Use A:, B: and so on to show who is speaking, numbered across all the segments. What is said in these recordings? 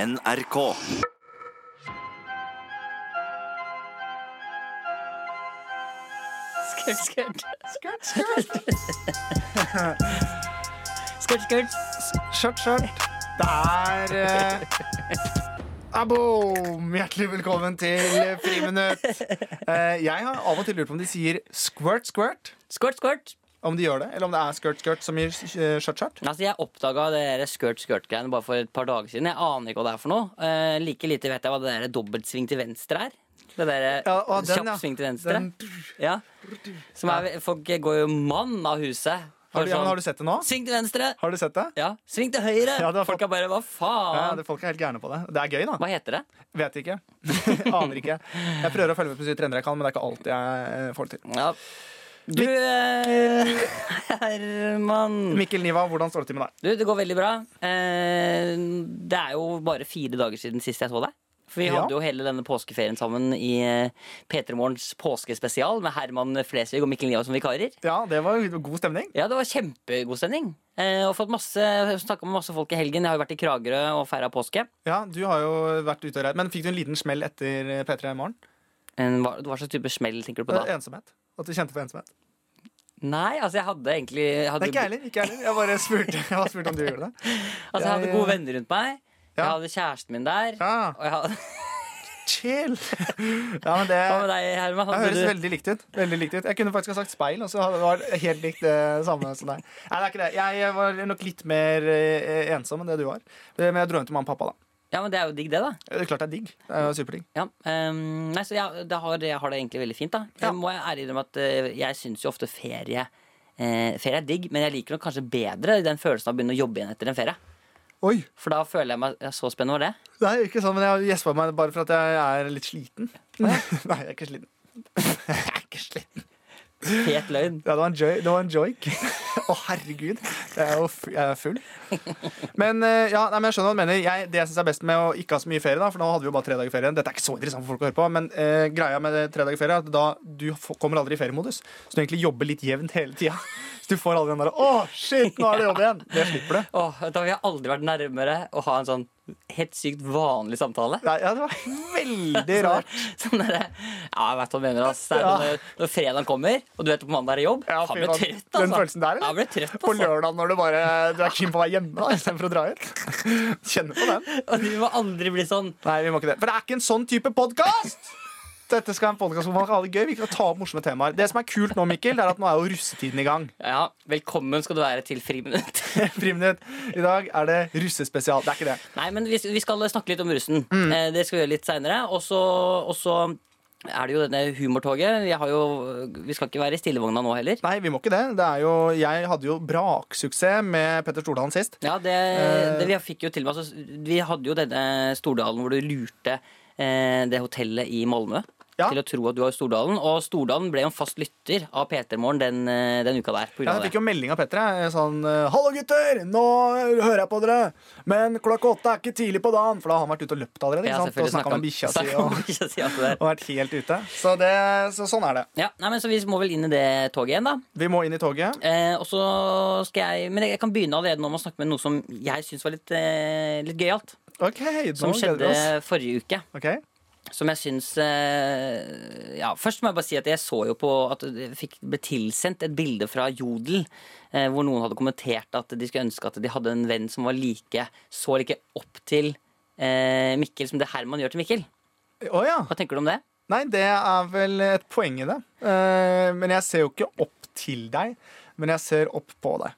A: NRK.
B: Skurt, skurt. Skurt, skurt. skurt, skurt.
C: Skjørt, skjørt. Det er eh, Aboom! Hjertelig velkommen til Friminutt. Eh, jeg har av og til lurt på om de sier squirt, squirt.
B: Skurt, skurt.
C: Om de gjør det, Eller om det er skirt, skirt som gir eh, skjørt, skjørt.
B: Altså, jeg oppdaga det der skurt, skurt-greiene bare for et par dager siden. Jeg aner ikke hva det er for noe. Eh, like lite vet jeg hva det der dobbeltsving til venstre er. Det derre
C: Ja, og den,
B: kjapp
C: ja.
B: sving til venstre.
C: Den-
B: Ja. Som er, folk går jo mann av huset.
C: Har, du- ja, men har
B: Sånn,
C: du sett det nå?
B: Sving til venstre!
C: Har du sett det?
B: Ja. Sving til høyre!
C: Ja, det har
B: folk
C: fått-
B: er bare hva faen?
C: Ja, det, folk er helt gærne på det. Det er gøy, da.
B: Hva heter det?
C: Vet ikke. Aner ikke. Jeg prøver å følge med på så mye trender jeg kan, men det er ikke alt jeg eh, får til.
B: Ja. Du, eh, Herman
C: Mikkel Niva, hvordan står det til med deg?
B: Du, det går veldig bra. Eh, det er jo bare fire dager siden sist jeg så deg. For vi
C: Ja.
B: hadde jo hele denne påskeferien sammen i eh, P3 Morgens påskespesial med Herman Flesvig og Mikkel Niva som vikarer.
C: Ja, det var jo god stemning.
B: Ja, det var kjempegod sending. Eh, og fått masse, snakka med masse folk i helgen. Jeg har jo vært i Kragerø og feira påske.
C: Ja, Du har jo vært ute og reist. Men fikk du en liten smell etter eh, P3 i morgen?
B: En, hva, hva slags type smell tenker du på
C: Eh,
B: da?
C: Ensomhet. At du kjente på ensomhet.
B: Nei, altså jeg hadde egentlig jeg hadde,
C: Nei, ikke jeg heller. ikke jeg heller. Jeg bare spurte, jeg bare spurte om du gjorde det.
B: altså, jeg hadde
C: Jeg,
B: gode
C: eh,
B: venner rundt meg. Jeg
C: ja.
B: hadde kjæresten min der.
C: Ja,
B: Og jeg hadde,
C: chill! Ja, men det
B: hva med deg, Herman?
C: det
B: Hadde
C: høres
B: du-
C: veldig likt ut. veldig likt ut Jeg kunne faktisk ha sagt speil, og så hadde det vært helt likt det samme som deg. Nei, det er ikke det. Jeg var nok litt mer eh, ensom enn det du var. Eh, Men jeg dro hjem til mamma og pappa, da.
B: Ja, men Det er jo digg, det, da.
C: Eh, Det er klart det er digg. Det er jo superdigg.
B: Ja, ehm, nei, så jeg, det har, jeg har det egentlig veldig fint. da
C: Ja.
B: Jeg må jeg ærlig innrømme at eh, jeg syns jo ofte ferie eh, Ferie er digg, men jeg liker nok kanskje bedre den følelsen av å begynne å jobbe igjen etter en ferie.
C: Oi!
B: For da føler jeg meg ja, så spennende over det.
C: Nei, ikke sånn, men jeg gjespa meg bare for at jeg er litt sliten. Nei, jeg er ikke sliten. Jeg er ikke sliten.
B: Fet løgn.
C: Ja, det var en, joy, det var en joik. Å, herregud. Jeg er jo fu- jeg er full. Men eh, ja, nei, men jeg skjønner hva du mener. Jeg, det jeg syns er best med å ikke ha så mye ferie, da, for nå hadde vi jo bare tre dager ferie igjen. Dette er ikke så interessant for folk å høre på, men eh, greia med det tre dager ferie er at da du f- kommer aldri i feriemodus. Så du egentlig jobber litt jevnt hele tida. Så du får aldri den derre Å, shit, nå er det jobb igjen. Det slipper du.
B: Åh, da har jeg aldri vært nærmere å ha en sånn helt sykt vanlig samtale.
C: Nei, ja, det var veldig rart.
B: Sånn der, ja, jeg vet hva du mener ass. Det er
C: Ja.
B: Når, når fredagen kommer, og du vet på mandag er det jobb
C: Ja,
B: Han
C: fy
B: ble
C: faen.
B: trøtt, altså.
C: Den følelsen der, eller?
B: Han ble trøtt,
C: På
B: altså.
C: lørdag når du bare Du er keen på å være hjemme da, istedenfor å dra ut. Kjenner på den.
B: Og du må aldri bli sånn
C: Nei, vi må ikke det. For det er ikke en sånn type podkast! Dette skal være en podcast hvor man kan ha det gøy. Vi kan ta opp morsomme temaer. Det som er kult nå, Mikkel, det er at nå er jo russetiden i gang.
B: Ja, velkommen skal du være til friminutt.
C: Friminutt. I dag er det russespesial. Det er ikke det.
B: Nei, men vi, vi skal snakke litt om russen.
C: Mm.
B: Eh, det skal vi gjøre litt seinere. Og så og så er det jo denne humortoget. Vi, har jo, vi skal ikke være i stillevogna nå heller.
C: Nei, vi må ikke det. det er jo, jeg hadde jo braksuksess med Petter Stordalen sist.
B: Ja, det,
C: Eh.
B: det vi fikk jo til og med altså, Vi hadde jo denne Stordalen hvor du lurte eh, det hotellet i Malmö.
C: Ja.
B: Til å tro at du var i Stordalen. Og Stordalen ble jo en fast lytter av PT-morgen den, eh, den uka der. På grunn
C: Ja,
B: av
C: jeg
B: det.
C: fikk jo melding av Petter. jeg, Sånn 'Hallo, gutter! Nå hører jeg på dere!' 'Men klokka åtte er ikke tidlig på dagen.' For da har han vært ute og løpt allerede.
B: Ja,
C: Ikke sant? Og
B: selvfølgelig snakket
C: snakka med bikkja si
B: snakket om
C: og,
B: bikkja si og alt det der.
C: og vært helt ute. Så, det, så sånn er det.
B: Ja, nei, men Så vi må vel inn i det toget igjen, da.
C: Vi må inn i toget.
B: Eh, og så skal jeg, men jeg kan begynne allerede nå med å snakke med noe som jeg syns var litt, eh, litt gøyalt.
C: OK, nå
B: Som
C: gleder vi
B: skjedde
C: oss.
B: forrige uke.
C: Ok?
B: Som jeg syns eh, ja, Først må jeg bare si at jeg så jo på at det fikk, ble tilsendt et bilde fra Jodel. Eh, hvor noen hadde kommentert at de skulle ønske at de hadde en venn som var like, så like opp til eh, Mikkel som det Herman gjør til Mikkel.
C: Å ja.
B: Hva tenker du om det?
C: Nei, det er vel et poeng i det. Eh, men jeg ser jo ikke opp til deg, men jeg ser opp på deg.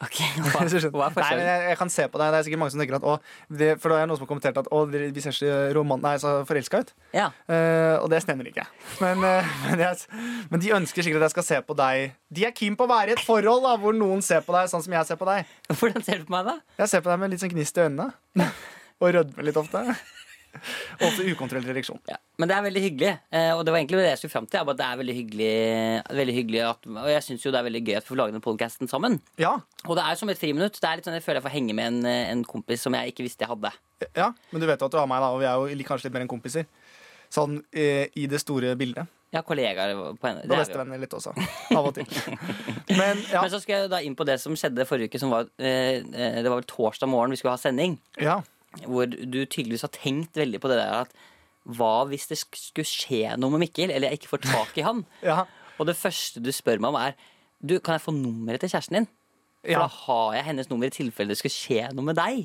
B: Ok, Hva,
C: Hvis du skjønner.
B: hva er
C: Nei, men
B: forskjellen?
C: jeg, jeg kan se på deg. Det er sikkert mange som tenker at å, det, For da er det noen som har kommentert at å, dere- vi ser så, roman- nei, så forelska ut.
B: Ja.
C: Eh, og det stemmer ikke. Men, eh, men, jeg, men de ønsker sikkert at jeg skal se på deg. De er keen på å være i et forhold da, hvor noen ser på deg sånn som jeg ser på deg.
B: Hvordan ser du på meg, da?
C: Jeg ser på deg med litt sånn gnist i øynene. Og rødmer litt ofte. Og også ukontrollert ereksjon.
B: Ja, men det er veldig hyggelig, eh, og det var egentlig det jeg skulle fram til. er bare at Det er veldig hyggelig, veldig hyggelig at, og jeg syns jo det er veldig gøy at vi får lage den podcasten sammen.
C: Ja,
B: Og det er som et friminutt. Det er litt sånn Jeg føler jeg får henge med en, eh, en kompis som jeg ikke visste jeg hadde.
C: Ja, men du vet jo at du har meg, da, og vi er jo li- kanskje litt mer enn kompiser. Sånn eh, i det store bildet.
B: Jeg har kollegaer på henne. Det er
C: Og
B: vi jo.
C: bestevenner litt også. Av og til. Men ja.
B: Men så skal jeg da inn på det som skjedde forrige uke. Som var, eh, eh, det var vel torsdag morgen vi skulle ha sending.
C: ja.
B: hvor du tydeligvis har tenkt veldig på det der at hva hvis det sk- skulle skje noe med Mikkel, eller jeg ikke får tak i han?
C: Ja.
B: Og det første du spør meg om, er du, kan jeg få nummeret til kjæresten din? For
C: Ja.
B: da har jeg hennes nummer i tilfelle det skulle skje noe med deg.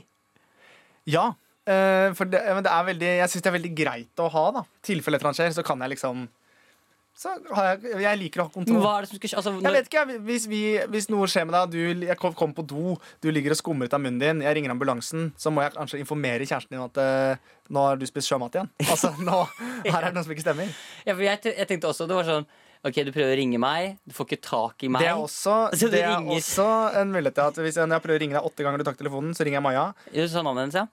C: Ja, eh, for det, men det er veldig, jeg syns det er veldig greit å ha, da. I tilfelle et eller annet skjer, så kan jeg liksom så har jeg, jeg liker å ha
B: Men
C: kontroll.
B: hva er det som skulle skje? Altså,
C: Mm. Jeg
B: når,
C: vet ikke, jeg, hvis, vi, hvis noe skjer med deg, du, jeg kom- kom på do, du ligger og skummer ut av munnen din, jeg ringer ambulansen, så må jeg kanskje informere kjæresten din om at eh, nå har du spist sjømat igjen. Altså, nå, her er det noe som ikke stemmer.
B: ja, for jeg, te- jeg tenkte også, det var sånn Ok, du prøver å ringe meg, du får ikke tak i meg.
C: Det er også,
B: Så du
C: det er
B: ringer.
C: også en mulighet til at hvis jeg, når jeg prøver å ringe deg åtte ganger du tar telefonen, så ringer jeg Maja.
B: Jo, sånn anvendelse, ja.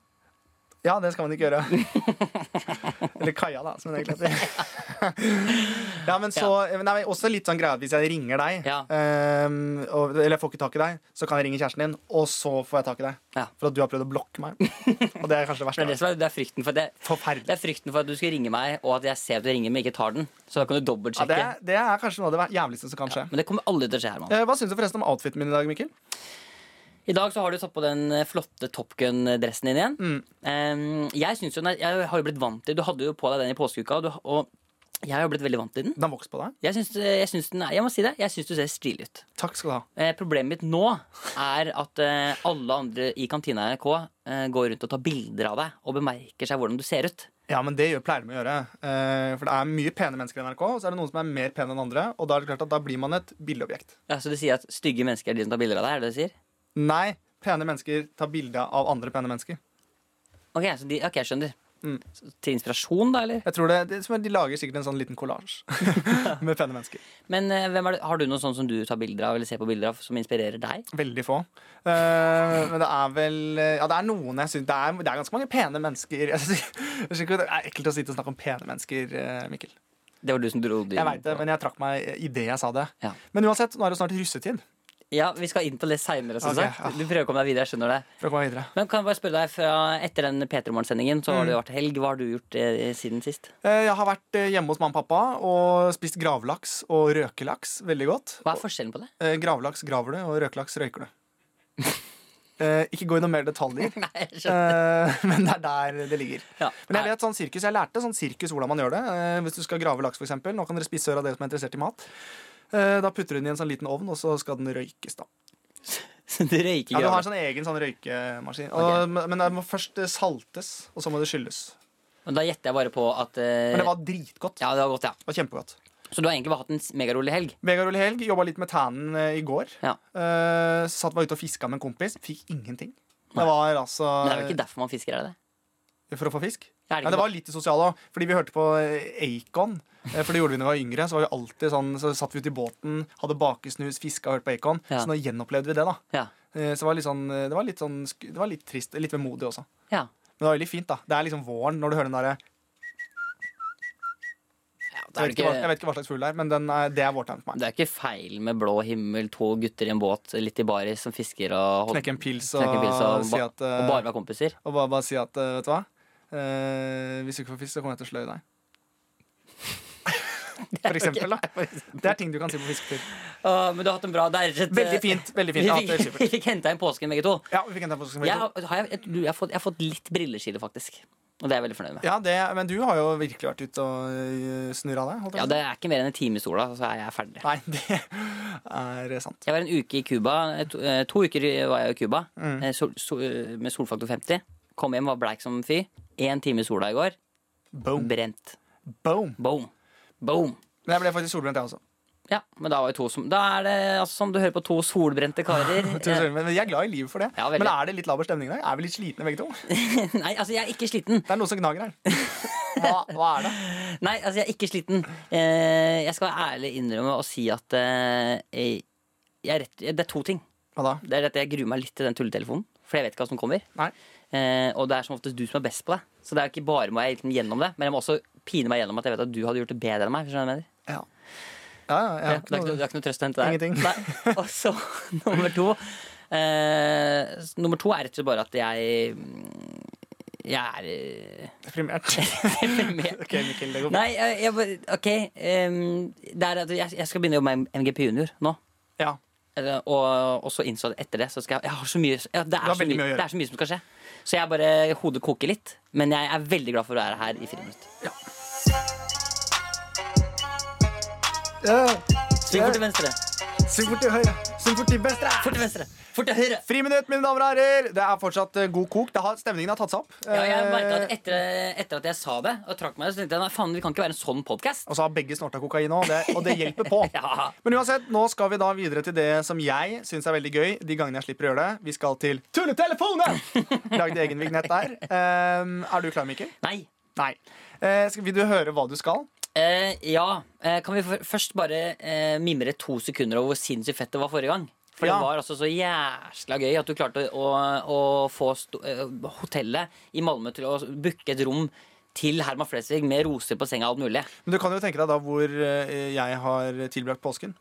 C: Ja, det skal man ikke gjøre. Eller Kaja, da, som hun egentlig heter. ja, men så, nei, men også litt sånn greia at hvis jeg ringer deg,
B: Ja.
C: ehm, og, eller jeg får ikke tak i deg, så kan jeg ringe kjæresten din, og så får jeg tak i deg.
B: Ja.
C: For at du har prøvd å blokke meg. Og det er
B: For Det
C: kanskje det verste.
B: er, det, som er, det, er frykten for det, det
C: Forferdelig.
B: er frykten for at du skal ringe meg, og at jeg ser at du ringer, men ikke tar den. Så da kan du
C: Ja, det,
B: dobbeltsjekke.
C: er, det er kanskje noe av det ver- jævligste som kan skje.
B: Men det kommer aldri til å skje, Herman.
C: Eh, Hva syns du forresten om outfiten min i dag, Mikkel?
B: I dag så har du tatt på den eh, flotte Top Gun-dressen din igjen.
C: Mm.
B: Eh, jeg, synes jo, nei, jeg har jo blitt vant til Du hadde jo på deg den i påskeuka, og, du, og jeg har jo blitt veldig vant til den.
C: Den har vokst på deg.
B: Jeg syns, jeg syns den er, jeg må si det, jeg syns du ser stilig ut.
C: Takk skal du ha.
B: Eh, problemet mitt nå er at eh, alle andre i kantina i NRK eh, går rundt og tar bilder av deg og bemerker seg hvordan du ser ut.
C: Ja, men det gjør- pleier de å gjøre. Eh, For det er mye pene mennesker i NRK, og så er det noen som er mer pene enn andre, og da er det klart at da blir man et bildeobjekt.
B: Ja, så du sier at stygge mennesker er de som tar bilder av deg? er det det du sier?
C: Nei, pene mennesker tar bilde av andre pene mennesker.
B: Ok, så de, ok, jeg skjønner.
C: Mm.
B: Så Til inspirasjon, da, eller?
C: Jeg tror det, det er som at De lager sikkert en sånn liten kollasj med pene mennesker.
B: Men eh, hvem er det, har du noe sånn som du tar bilder av eller ser på bilder av som inspirerer deg?
C: Veldig få. Eh, men det er vel Ja, det er noen jeg syns det, er- det er ganske mange pene mennesker. Jeg synes, jeg synes ikke, det er ekkelt å sitte og snakke om pene mennesker, eh, Mikkel.
B: Det var du som dro det
C: Jeg veit det, men jeg trakk meg idet jeg sa det.
B: Ja.
C: Men uansett, nå er det snart russetid.
B: Ja, vi skal inn på det seinere, som
C: Ok, ah. ja.
B: sagt. Du prøver å komme deg videre, jeg skjønner det.
C: For å komme videre.
B: Men kan jeg bare spørre deg, fra etter den P3 Morgen-sendingen, så har det jo
C: Mm.
B: vært helg. Hva har du gjort eh, siden sist?
C: Eh, Jeg har vært eh, hjemme hos mamma og pappa og spist gravlaks og røkelaks. Veldig godt.
B: Hva er forskjellen på det?
C: Eh, Gravlaks graver du, og røkelaks røyker du. Eh, Ikke gå i noe mer detaljer.
B: Nei, jeg skjønner.
C: Eh, men det er der det ligger.
B: Ja.
C: Men jeg vet sånn sirkus, jeg lærte sånn sirkus hvordan man gjør det. Eh, hvis du skal grave laks, for eksempel Nå kan dere spise øra dere som er interessert i mat. Eh, da putter du den i en sånn liten ovn, og så skal den røykes. da
B: Så du røyker
C: Ja, Du har en
B: gravlaks.
C: sånn egen sånn røykemaskin.
B: Ok.
C: Og, men- Men det må først eh, saltes, og så må det skylles.
B: Men da gjetter jeg bare på at eh,
C: Men det var dritgodt.
B: Ja, det var godt, ja.
C: Det var Kjempegodt.
B: Så du har egentlig bare hatt en megarolig helg?
C: Vegard Ole Helg jobba litt med tannen eh, i går.
B: Ja.
C: Eh, satt meg ute og fiska med en kompis. Fikk ingenting. Det var altså eh,
B: Men det er jo ikke derfor man fisker, er det det?
C: For å få fisk?
B: Er det
C: Det,
B: ikke
C: ja, det
B: noe-
C: var litt sosialt òg, fordi vi hørte på eh, Acon. eh, For det gjorde vi når vi var yngre. Så var vi alltid sånn, så satt vi ute i båten, hadde bakesnus, fiska og hørte på Acon.
B: Ja.
C: Så nå gjenopplevde vi det, da.
B: Ja.
C: Eh, Så det var litt sånn, eh, det var litt, sånn, sk- det var litt trist. Litt vemodig også.
B: ja.
C: Men det var veldig fint, da. Det er liksom våren når du hører den derre
B: ja det, er
C: jeg, vet ikke hva- jeg
B: ikke,
C: vet ikke hva slags fugl det er, men den er, det er vårtegn for meg.
B: det er ikke feil med blå himmel, to gutter i en båt, litt i baris, som fisker og hold-
C: Knekke en pils og,
B: knekke en pils og,
C: si
B: ba-
C: at eh,
B: og bare være kompiser.
C: Og bare, bare si at, eh, vet du hva Eh, Hvis du ikke får fisk, så kommer jeg til å sløye deg. For eksempel, da. Det er ting du kan si på fisketur.
B: Å, men du har hatt en bra det er rett og slett, eh,
C: Veldig fint. veldig fint
B: Vi
C: Ja, det er
B: fikk,
C: supert.
B: vi fikk henta inn påsken, begge to.
C: Ja, vi fikk en telefon.
B: Jeg, har, har jeg, jeg, tror jeg, har fått, jeg har fått litt brilleskille, faktisk. Og det er jeg veldig fornøyd med.
C: Ja, det, men du har jo virkelig vært ute og øh, snurra deg. holdt jeg
B: Ja,
C: på å
B: Det er ikke mer enn en time i sola, så er jeg ferdig.
C: si. Nei, det er sant.
B: Jeg var en uke i Cuba. eh, To, eh, to uker var jeg i Cuba
C: Mm.
B: eh, sol, sol, eh, med solfaktor 50. Kom hjem, var bleik som en fy. Én time i sola i går.
C: Boom.
B: Brent.
C: Boom.
B: Boom. Boom.
C: Men jeg ble faktisk solbrent, jeg også.
B: Ja, men da var jo to som Da er det altså, som du hører på to solbrente karer. Eh,
C: Men jeg er glad i livet for det.
B: Ja, veldig.
C: men er det litt laber stemning i dag? Er vi litt slitne begge to? Det
B: Nei, altså, jeg er ikke sliten.
C: er noe som gnager her. Hva, hva er det?
B: Nei, altså, jeg er ikke sliten. Eh, jeg skal være ærlig innrømme og si at eh, jeg, jeg er rett, det er to ting.
C: Hva da?
B: Det er at jeg gruer meg litt til den tulletelefonen, for jeg vet ikke hva som kommer.
C: Nei.
B: Eh, og det er som oftest du som er best på det. Så det er ikke bare må jeg liksom gjennom det, men jeg må også pine meg gjennom at jeg vet at du hadde gjort det bedre enn meg. skjønner du hva jeg mener?
C: Ja. Ja, ja, jeg
B: Ja,
C: har
B: det, er
C: ikke
B: ikke, noe- det
C: noe
B: er ikke noe trøst å hente der.
C: Ingenting.
B: Nei. Og så nummer to. Eh, s- nummer to er rett og slett bare at jeg mm, Jeg er eh,
C: deprimert.
B: deprimert.
C: OK, Mikkel, det går bra.
B: Nei, jeg, jeg bare OK. em, det er at jeg, jeg skal begynne å jobbe med MGP Junior nå.
C: Ja.
B: Eh, Og, og så innså jeg etter det så skal jeg, jeg har så mye, ja, det,
C: Du har
B: er så
C: veldig
B: mye,
C: mye å gjøre.
B: det er så mye som skal skje. Så jeg bare hodet koker litt. Men jeg er veldig glad for å være her i friminutt. Sving fort til venstre.
C: Sving fort til høyre. Sving fort til venstre.
B: Fort til venstre. Fort til høyre.
C: Friminutt, mine damer og herrer. Det er fortsatt eh, god kok. Det har, stemningen har tatt seg opp.
B: Ja, jeg merket
C: Eh,
B: at etter, etter at jeg sa det og trakk meg, så tenkte jeg nei, faen, vi kan ikke være en sånn podkast.
C: Og så har begge snorta kokain òg, og det hjelper på.
B: Ja.
C: Men uansett, nå skal vi da videre til det som jeg syns er veldig gøy. De gangene jeg slipper å gjøre det Vi skal til Tulletelefonen! Lagde egen vignett der. Eh, er du klar, Mikkel?
B: Nei.
C: Nei. Eh, skal, vil du høre hva du skal?
B: Eh, ja. Eh, kan vi for- først bare eh, mimre to sekunder over hvor sinnssykt fett det var forrige gang? For
C: Ja.
B: det var altså så jæsla gøy at du klarte å, å, å få sto, eh, hotellet i Malmö til å booke et rom til Herman Flesvig med roser på senga og alt mulig.
C: Men du kan jo tenke deg da hvor eh, jeg har tilbrakt påsken.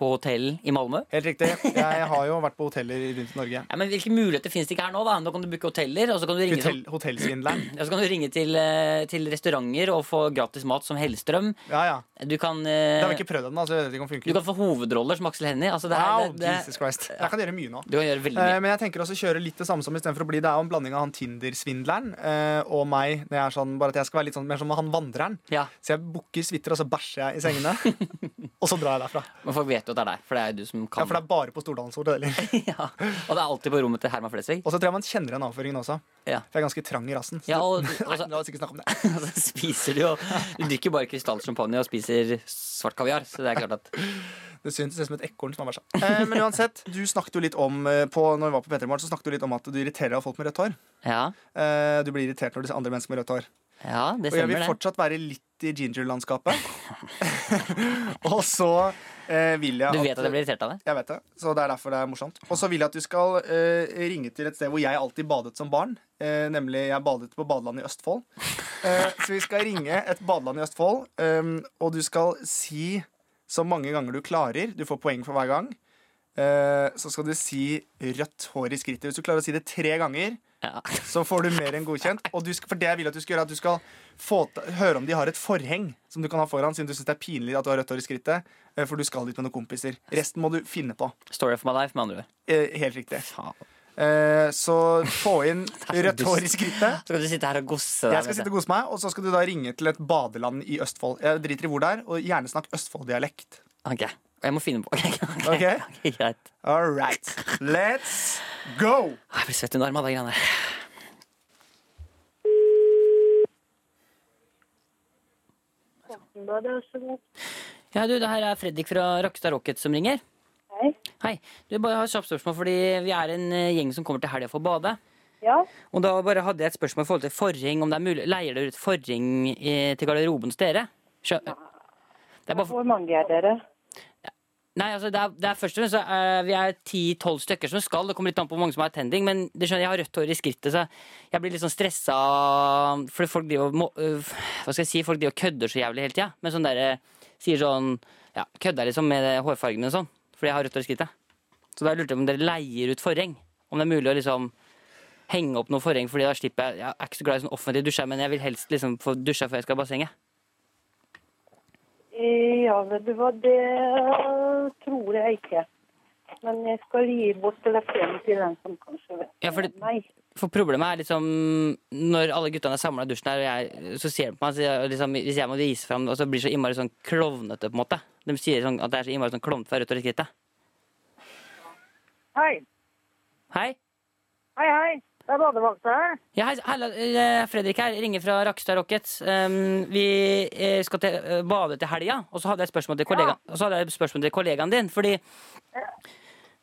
B: På hotell i Malmö.
C: Helt riktig. Jeg har jo vært på hoteller rundt i Norge.
B: Ja, men Hvilke muligheter finnes det ikke her nå? da? Nå kan du booke hoteller, og så kan du ringe,
C: Hotell, hotellsvindleren.
B: ja, så kan du ringe til, eh, til restauranter og få gratis mat som Hellstrøm.
C: Ja, ja.
B: Du kan,
C: Det
B: eh,
C: har vi ikke prøvd ennå, så jeg vet ikke om det
B: du
C: funker.
B: kan få hovedroller som Aksel Hennie. Altså, det er-
C: Wow,
B: det- det-
C: Jesus Christ. Jeg kan gjøre mye nå.
B: du kan gjøre veldig mye.
C: Eh, Men jeg tenker også å kjøre litt det samme som istedenfor å bli. Det er jo en blanding av han Tinder-svindleren eh, og meg. Når jeg er sånn, bare at jeg skal være litt sånn mer som han vandreren.
B: Ja.
C: Så jeg booker suiter, og så bæsjer jeg i sengene. og så drar jeg derfra.
B: Men folk vet jo at det er deg, for det er jo du som
C: Ja,
B: kan
C: For det er bare på Stordalens hotell.
B: Ja, Og det er alltid på rommet til Herman Flesvig.
C: Og så tror jeg man kjenner igjen avføringen også.
B: Ja.
C: For jeg er ganske trang i rassen. Så
B: Ja, og,
C: Nei,
B: og så-
C: la oss ikke snakke om det.
B: og så spiser du jo Du drikker bare krystallsjampanje og spiser svart kaviar. Så det er klart at
C: Det synes det ser ut som et ekorn som har bæsja. Eh, men uansett, du snakket jo litt om eh, på, Når vi var på P3 Morgen, så snakket du litt om at du irriterer deg av folk med rødt hår.
B: Ja,
C: Eh, du blir irritert når du ser andre mennesker med rødt hår.
B: ja det
C: Og jeg
B: stemmer,
C: vil
B: det.
C: fortsatt være litt i ginger-landskapet. og så eh, vil jeg
B: Du vet at jeg blir irritert av det?
C: Jeg vet det, så det er derfor det er morsomt. Og så vil jeg at du skal eh, ringe til et sted hvor jeg alltid badet som barn. Eh, nemlig jeg badet på badelandet i Østfold. Eh, så vi skal ringe et badeland i Østfold, eh, og du skal si så mange ganger du klarer. Du får poeng for hver gang. Eh, så skal du si rødt hår i skrittet. Hvis du klarer å si det tre ganger,
B: Ja.
C: så får du mer enn godkjent. Og du skal, for det jeg vil at du skal gjøre, er at du skal få, ta- høre om de har et forheng som du kan ha foran, siden du syns det er pinlig at du har rødt hår i skrittet. eh, For du skal dit med noen kompiser. Resten må du finne på.
B: Story of my life, med andre ord.
C: Eh, Helt riktig.
B: Faen.
C: Eh, Så få inn
B: er så
C: rødt hår i
B: dust.
C: skrittet.
B: Så kan du sitte her og gosse deg.
C: Jeg skal
B: vet
C: sitte
B: du.
C: og kose meg, og så skal du da ringe til et badeland i Østfold. Jeg driter i hvor det er, og gjerne snakk Østfold-dialekt.
B: Ok, Og jeg må finne på Ok, ok,
C: Ok.
B: ok, greit.
C: All right. Let's go!
B: Jeg blir svett under armen av de greiene der.
A: Aftenbladet, vær så god.
B: Ja, du, det her er Fredrik fra Rakstad Rocket som ringer.
A: Hei.
B: Hei. Du, jeg bare har et kjapt spørsmål, fordi vi er en eh, gjeng som kommer til helga for å bade.
A: Ja,
B: Og da bare hadde jeg et spørsmål i forhold til forheng. Om det er mulig, leier dere ut forheng eh, til garderoben hos dere? Skjø det er bare for,
A: hvor mange er dere?
B: nei, altså, det er, det er først og fremst så, eh, vi er ti-tolv stykker som skal. Det kommer litt an på hvor mange som har attending. Men du skjønner, jeg har rødt hår i skrittet, så jeg blir litt sånn stressa. Fordi folk driver og må- øh, Hva skal jeg si? Folk driver og kødder så jævlig hele tida. Men sånn derre sier sånn Ja, kødder liksom med hårfargene og sånn. Fordi jeg har rødt hår i skrittet. Så da lurte jeg på om dere leier ut forheng. Om det er mulig å liksom henge opp noe forheng, fordi da slipper jeg Jeg er ikke så glad i sånn offentlig dusje, men jeg vil helst liksom få dusja før jeg skal i bassenget.
A: Eh, Ja, vet du hva, det tror jeg ikke. Men jeg skal gi bort telefonen til den som kanskje vet
B: Ja, for det-
A: meg.
B: For problemet er liksom Når alle guttene er samla i dusjen her, og jeg, så ser de på meg så jeg, liksom, Hvis jeg må vise fram og så blir det så innmari sånn klovnete, på en måte. De sier sånn at det er så innmari sånn klovnete fra rødt og skrittet.
D: Hei.
B: Hei.
D: Hei, hei. Det er badevakta her.
B: Ja, hei, hei, eh, Fredrik her, ringer fra Rakstad Rocket. Um, vi eh, skal til eh, bade til helga, og så hadde jeg et spørsmål til kollegaen, og så hadde jeg et spørsmål til kollegaen din, fordi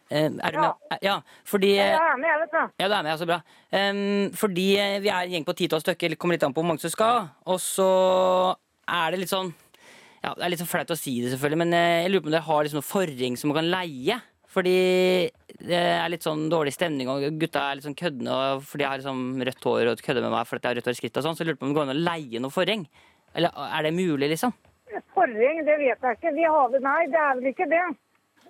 B: Eh, Er du
D: Ja. Eh,
B: med? Ja, fordi eh,
D: Jeg er med, jeg, vet du.
B: Ja, du er med, ja, så bra. Ehm, fordi eh, vi er en gjeng på titall stykker, det kommer litt an på hvor mange som skal. Og så er det litt sånn Ja, det er litt sånn flaut å si det, selvfølgelig, men eh, jeg lurer på om dere har liksom noe forring som man kan leie? Fordi det er litt sånn dårlig stemning, og gutta er litt sånn køddende og fordi jeg har liksom rødt hår og kødder med meg fordi jeg har rødt hår i skrittet og sånn, så jeg lurer på om det går an å leie noe forring? Eller er det mulig, liksom?
D: Forring, det vet jeg ikke. Vi har det, nei, det er vel ikke det.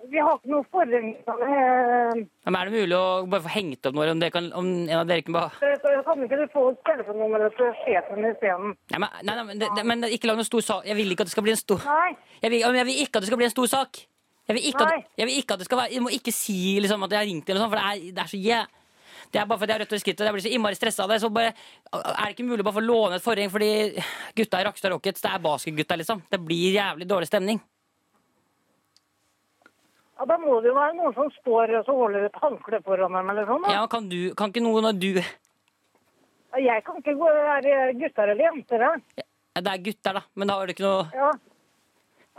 D: Vi har ikke noe forring. Eh,
B: Ja, Men er det mulig å bare få hengt opp noe, eller om, dere kan, om en av dere kan bare
D: så- så Kan ikke du få telefonnummeret til sjefen isteden?
B: Nei, men, nei, nei, men, det, det, men ikke lag noe stor sak. Jeg vil ikke at det skal bli en stor
D: Nei.
B: Jeg vil, jeg vil ikke at det skal bli en stor sak. Jeg vil ikke
D: Nei.
B: at, jeg vil ikke at det skal være Du må ikke si liksom, at jeg har ringt eller noe sånt, for det er, det er så jæ... Det er bare fordi jeg har rødt hår i skrittet. Jeg blir så innmari stressa av det. Så bare, er det ikke mulig å bare få låne et forheng? Fordi gutta i Rakkestad Rockets, det er basketgutta, liksom. Det blir jævlig dårlig stemning.
D: Ja, Da må det jo være noen som står og så holder et håndkle foran dem eller sånn. da.
B: Ja, kan, du, kan ikke noen av du Ja,
D: Jeg kan ikke gå være gutter eller jenter her.
B: Det er gutter, da, men da har du ikke noe
D: Ja.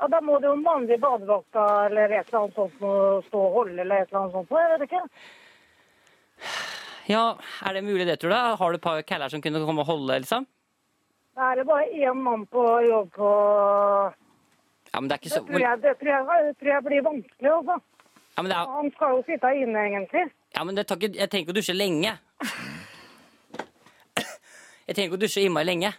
D: ja, da må det jo en mannlig badevakta eller et eller annet sånt noe stå og holde eller et eller annet sånt. noe, Jeg vet ikke.
B: Ja, er det mulig det, tror du? Har du et par kæller som kunne komme og holde, liksom?
D: Da er det bare én mann på jobb på
B: Ja, men det er ikke
D: Det
B: så
D: tror jeg, det tror jeg, det tror jeg blir vanskelig, altså.
B: Ja, men det, er,
D: Han skal jo sitte inne, egentlig.
B: ja, men det tar ikke Jeg trenger ikke å dusje lenge. Jeg trenger ikke å dusje innmari lenge.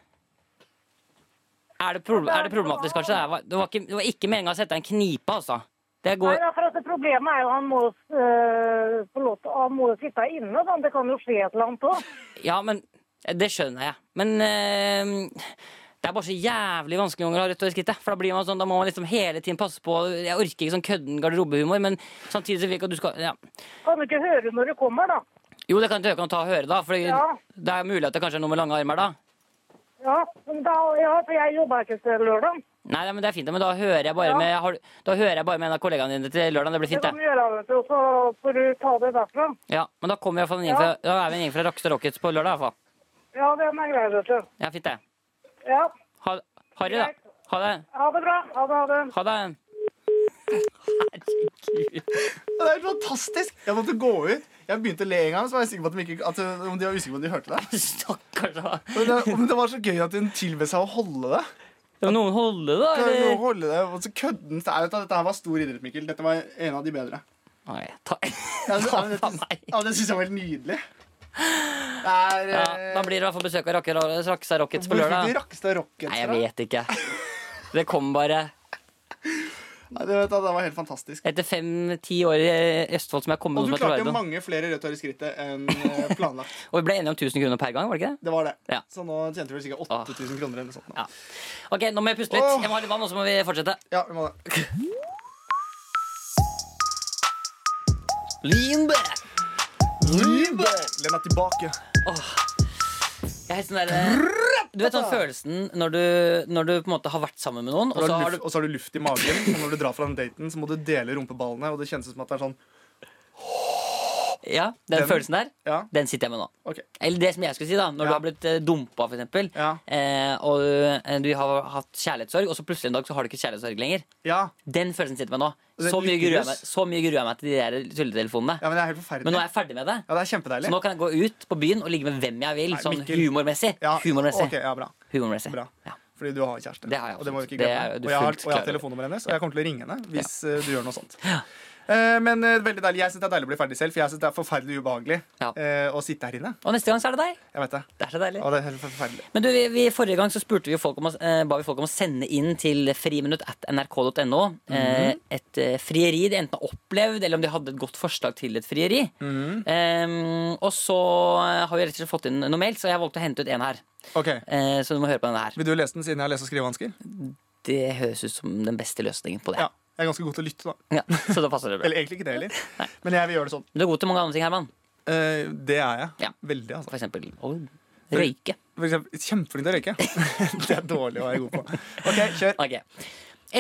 B: Er det, proble- er det problematisk, kanskje? Det var, det var ikke, det var ikke meninga å sette deg i en knipe, altså. Det
D: Nei,
B: går
D: da, for at det Problemet er jo han må, eh, få lov til, han må jo sitte inne. Da. Det kan jo skje et eller annet òg.
B: Ja, men Det skjønner jeg. Men eh, det er bare så jævlig vanskelig noen ganger å ha rødt hår i skrittet. For da blir man sånn, da må man liksom hele tiden passe på. Jeg orker ikke sånn kødden garderobehumor, men samtidig så vil jeg ikke at du skal ja.
D: Kan du ikke høre når du kommer, da?
B: Jo, det kan du kan ta og høre, da. For
D: Ja.
B: det er mulig at det kanskje er noe med lange armer, da.
D: Ja, men da, ja for jeg jobber ikke til lørdag.
B: Nei, nei, men det er fint, da, men da hører jeg bare,
D: Ja.
B: med, har, du- da hører jeg bare med en av kollegaene dine til lørdag. Det blir
D: Det
B: fint,
D: kan du
B: det.
D: gjøre, vet du, og så får du ta det derfra.
B: Ja, men da kommer vi i hvert fall en gjeng fra,
D: Ja.
B: da er vi en gjeng fra Rockstar Rockets på lørdag, i hvert fall.
D: Ja, den er grei, vet du.
B: Ja, fint, det.
D: Ja,
B: Ha, Harry, da. Ha det.
D: ha det bra. Ha det, ha det.
B: Ha det.
C: Det er helt fantastisk! Jeg måtte gå ut. Jeg begynte å le en gang, så var jeg sikker på at de, ikke, at uh, om de var usikre på at de hørte det.
B: Stakkars, da.
C: Men det, men det var så gøy at hun tilbød seg å holde det.
B: Det må noen holde, da.
C: Kan jo
B: Eller?
C: holde det Og så kødden så er det at Dette her var stor idrett, Mikkel. Dette var en av de bedre.
B: Nei, ta,
C: Ja, det,
B: ta
C: ja, det,
B: meg.
C: ja, det syns jeg var helt nydelig. Det er
B: Ja,
C: eh,
B: da blir det i hvert fall besøk av Rocker- Rockstar Rockets på
C: Hvorfor blir
B: lørdag.
C: Rakkestad Rockets
B: Nei, jeg
C: fra?
B: vet ikke. Det kom bare
C: Ja, det, vet jeg, det var helt fantastisk.
B: etter fem-ti år i Østfold som jeg kom med noe
C: Og du
B: som heter
C: klarte
B: Vardo.
C: mange flere rødt hår i skrittet enn eh, planlagt.
B: Og vi ble enige om 1000 kroner per gang, var det ikke det?
C: Det var det.
B: Ja.
C: Så nå tjente vi sikkert 8000 kroner eller noe sånt. nå.
B: Ja. Ok, nå må jeg puste litt.
C: Åh.
B: Jeg må ha litt vann, og så må vi fortsette.
C: Ja, vi må det.
B: Lean back.
C: Len deg tilbake.
B: Jeg har helt sånn der, du vet sånn
C: altså!
B: følelsen når du, når du på en måte har vært sammen med noen, og
C: Og
B: så
C: så
B: har
C: har
B: du
C: luft, og så har du luft i magen. Og når du drar fra den daten, så må du dele rumpeballene. Og det kjennes ut som at det er sånn
B: Ja, den,
C: Den-
B: følelsen der,
C: Ja,
B: den sitter jeg med nå.
C: OK.
B: Eller det som jeg skulle si, da. Når du
C: Ja.
B: har blitt eh, dumpa, for eksempel.
C: Ja.
B: Eh, og eh, du har hatt kjærlighetssorg, og så plutselig en dag så har du ikke kjærlighetssorg lenger.
C: Ja.
B: Den følelsen sitter jeg med nå.
C: Den
B: Så mye gruer jeg
C: lykkerus.
B: meg, så mye gruer jeg meg til de der tulletelefonene.
C: ja, men det er helt forferdelig.
B: Men nå er jeg ferdig med det.
C: Ja, det er kjempedeilig.
B: Så nå kan jeg gå ut på byen og ligge med hvem jeg vil,
C: Nei,
B: sånn
C: Mikkel.
B: humormessig.
C: Ja,
B: humormessig.
C: ok, ja, bra.
B: humormessig.
C: Bra.
B: Ja.
C: Fordi du har kjæreste.
B: Det har jeg
C: og det må
B: absolutt. Det
C: vi ikke glemme.
B: er du
C: Og jeg har,
B: fullt
C: og jeg har
B: klar over.
C: telefonnummeret hennes, og jeg kommer til å ringe henne hvis eh, du gjør noe sånt. Eh, men eh, veldig deilig. Jeg syns det er deilig å bli ferdig selv, for jeg syns det er forferdelig ubehagelig
B: Ja.
C: eh, å sitte her inne.
B: Og neste gang så er det deg.
C: Jeg vet det.
B: Det er så deilig.
C: Og det er helt forferdelig.
B: Men du, vi, vi, Forrige gang så spurte vi jo folk om, å- eh, ba vi folk om å sende inn til friminutt at nrk.no eh,
C: Mhm.
B: et eh, frieri de enten har opplevd, eller om de hadde et godt forslag til et frieri.
C: Mhm.
B: Eh, og så eh, har vi rett og slett fått inn noe mail, så jeg valgte å hente ut en her.
C: Ok,
B: Eh, så du må høre på denne her.
C: Vil du lese den siden jeg har lese- og skrivevansker?
B: Det høres ut som den beste løsningen på det.
C: Ja. Jeg er ganske god til å lytte, da.
B: Ja, så da passer det bra.
C: Eller egentlig ikke det heller. Men jeg vil gjøre det sånn.
B: Du er god til mange andre ting, Herman.
C: Eh, det er jeg.
B: Ja.
C: Veldig, altså.
B: For eksempel å røyke.
C: For eksempel, kjempeflink til å røyke. det er dårlig å være god på. Ok, kjør.
B: Ok.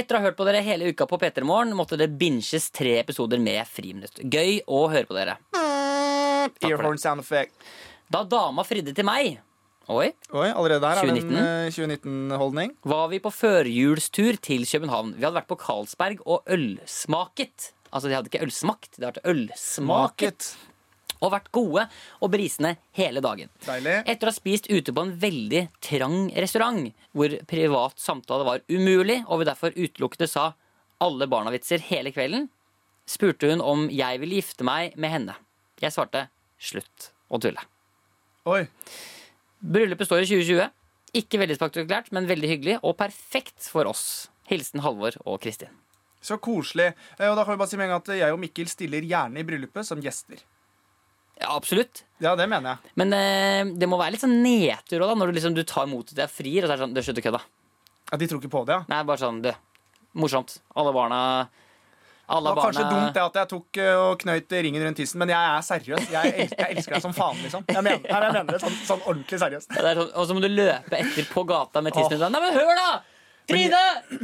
B: Etter å ha hørt på dere hele uka på P3 Morgen, måtte det binges tre episoder med Friminutt. Gøy å høre på dere. det.
C: Earhorn sound effect.
B: Da dama fridde til meg Oi,
C: Oi, allerede der er det
B: 2019.
C: en eh, 2019-holdning.
B: var vi på førjulstur til København. Vi hadde vært på Carlsberg og ølsmaket. Altså, de hadde ikke ølsmakt, de hadde ølsmaket. Og vært gode og brisende hele dagen.
C: Deilig.
B: Etter å ha spist ute på en veldig trang restaurant, hvor privat samtale var umulig, og vi derfor utelukkende sa alle barna-vitser hele kvelden, spurte hun om jeg ville gifte meg med henne. Jeg svarte slutt å tulle.
C: Oi.
B: Bryllupet står i 2020. Ikke veldig spektakulært, men veldig hyggelig og perfekt for oss. Hilsen Halvor og Kristin.
C: Så koselig. Eh, Og da kan vi bare si med en gang at jeg og Mikkel stiller gjerne i bryllupet som gjester.
B: Ja, absolutt.
C: Ja, det mener jeg.
B: Men eh, det må være litt sånn nedtur også, da, når du, liksom, du tar imot at jeg frier, og så er det sånn Du, slutt å kødde.
C: Ja, De tror ikke på det, ja.
B: Nei, bare sånn, du. Morsomt. Alle barna Alle
C: Det var kanskje
B: barna-
C: dumt det at jeg tok eh, og knøyt ringen rundt tissen, men jeg er seriøs. Jeg, el jeg elsker deg som faen, liksom. Jeg mener, nei, jeg mener det sånn, sånn ordentlig seriøst.
B: Ja, det er sånn, og så må du løpe etter på gata med tissen i hånda. Nei, men hør, da! Trine!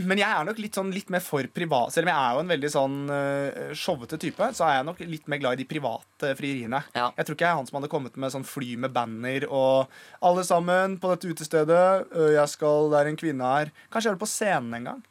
C: Men jeg er nok litt, sånn, litt mer for privat. Selv om jeg er jo en veldig sånn eh, showete type, så er jeg nok litt mer glad i de private frieriene.
B: Ja.
C: Jeg tror ikke jeg er han som hadde kommet med sånn fly med banner og 'Alle sammen på dette utestedet. ø, Jeg skal, Det er en kvinne her.' Kanskje jeg gjør det på scenen en gang.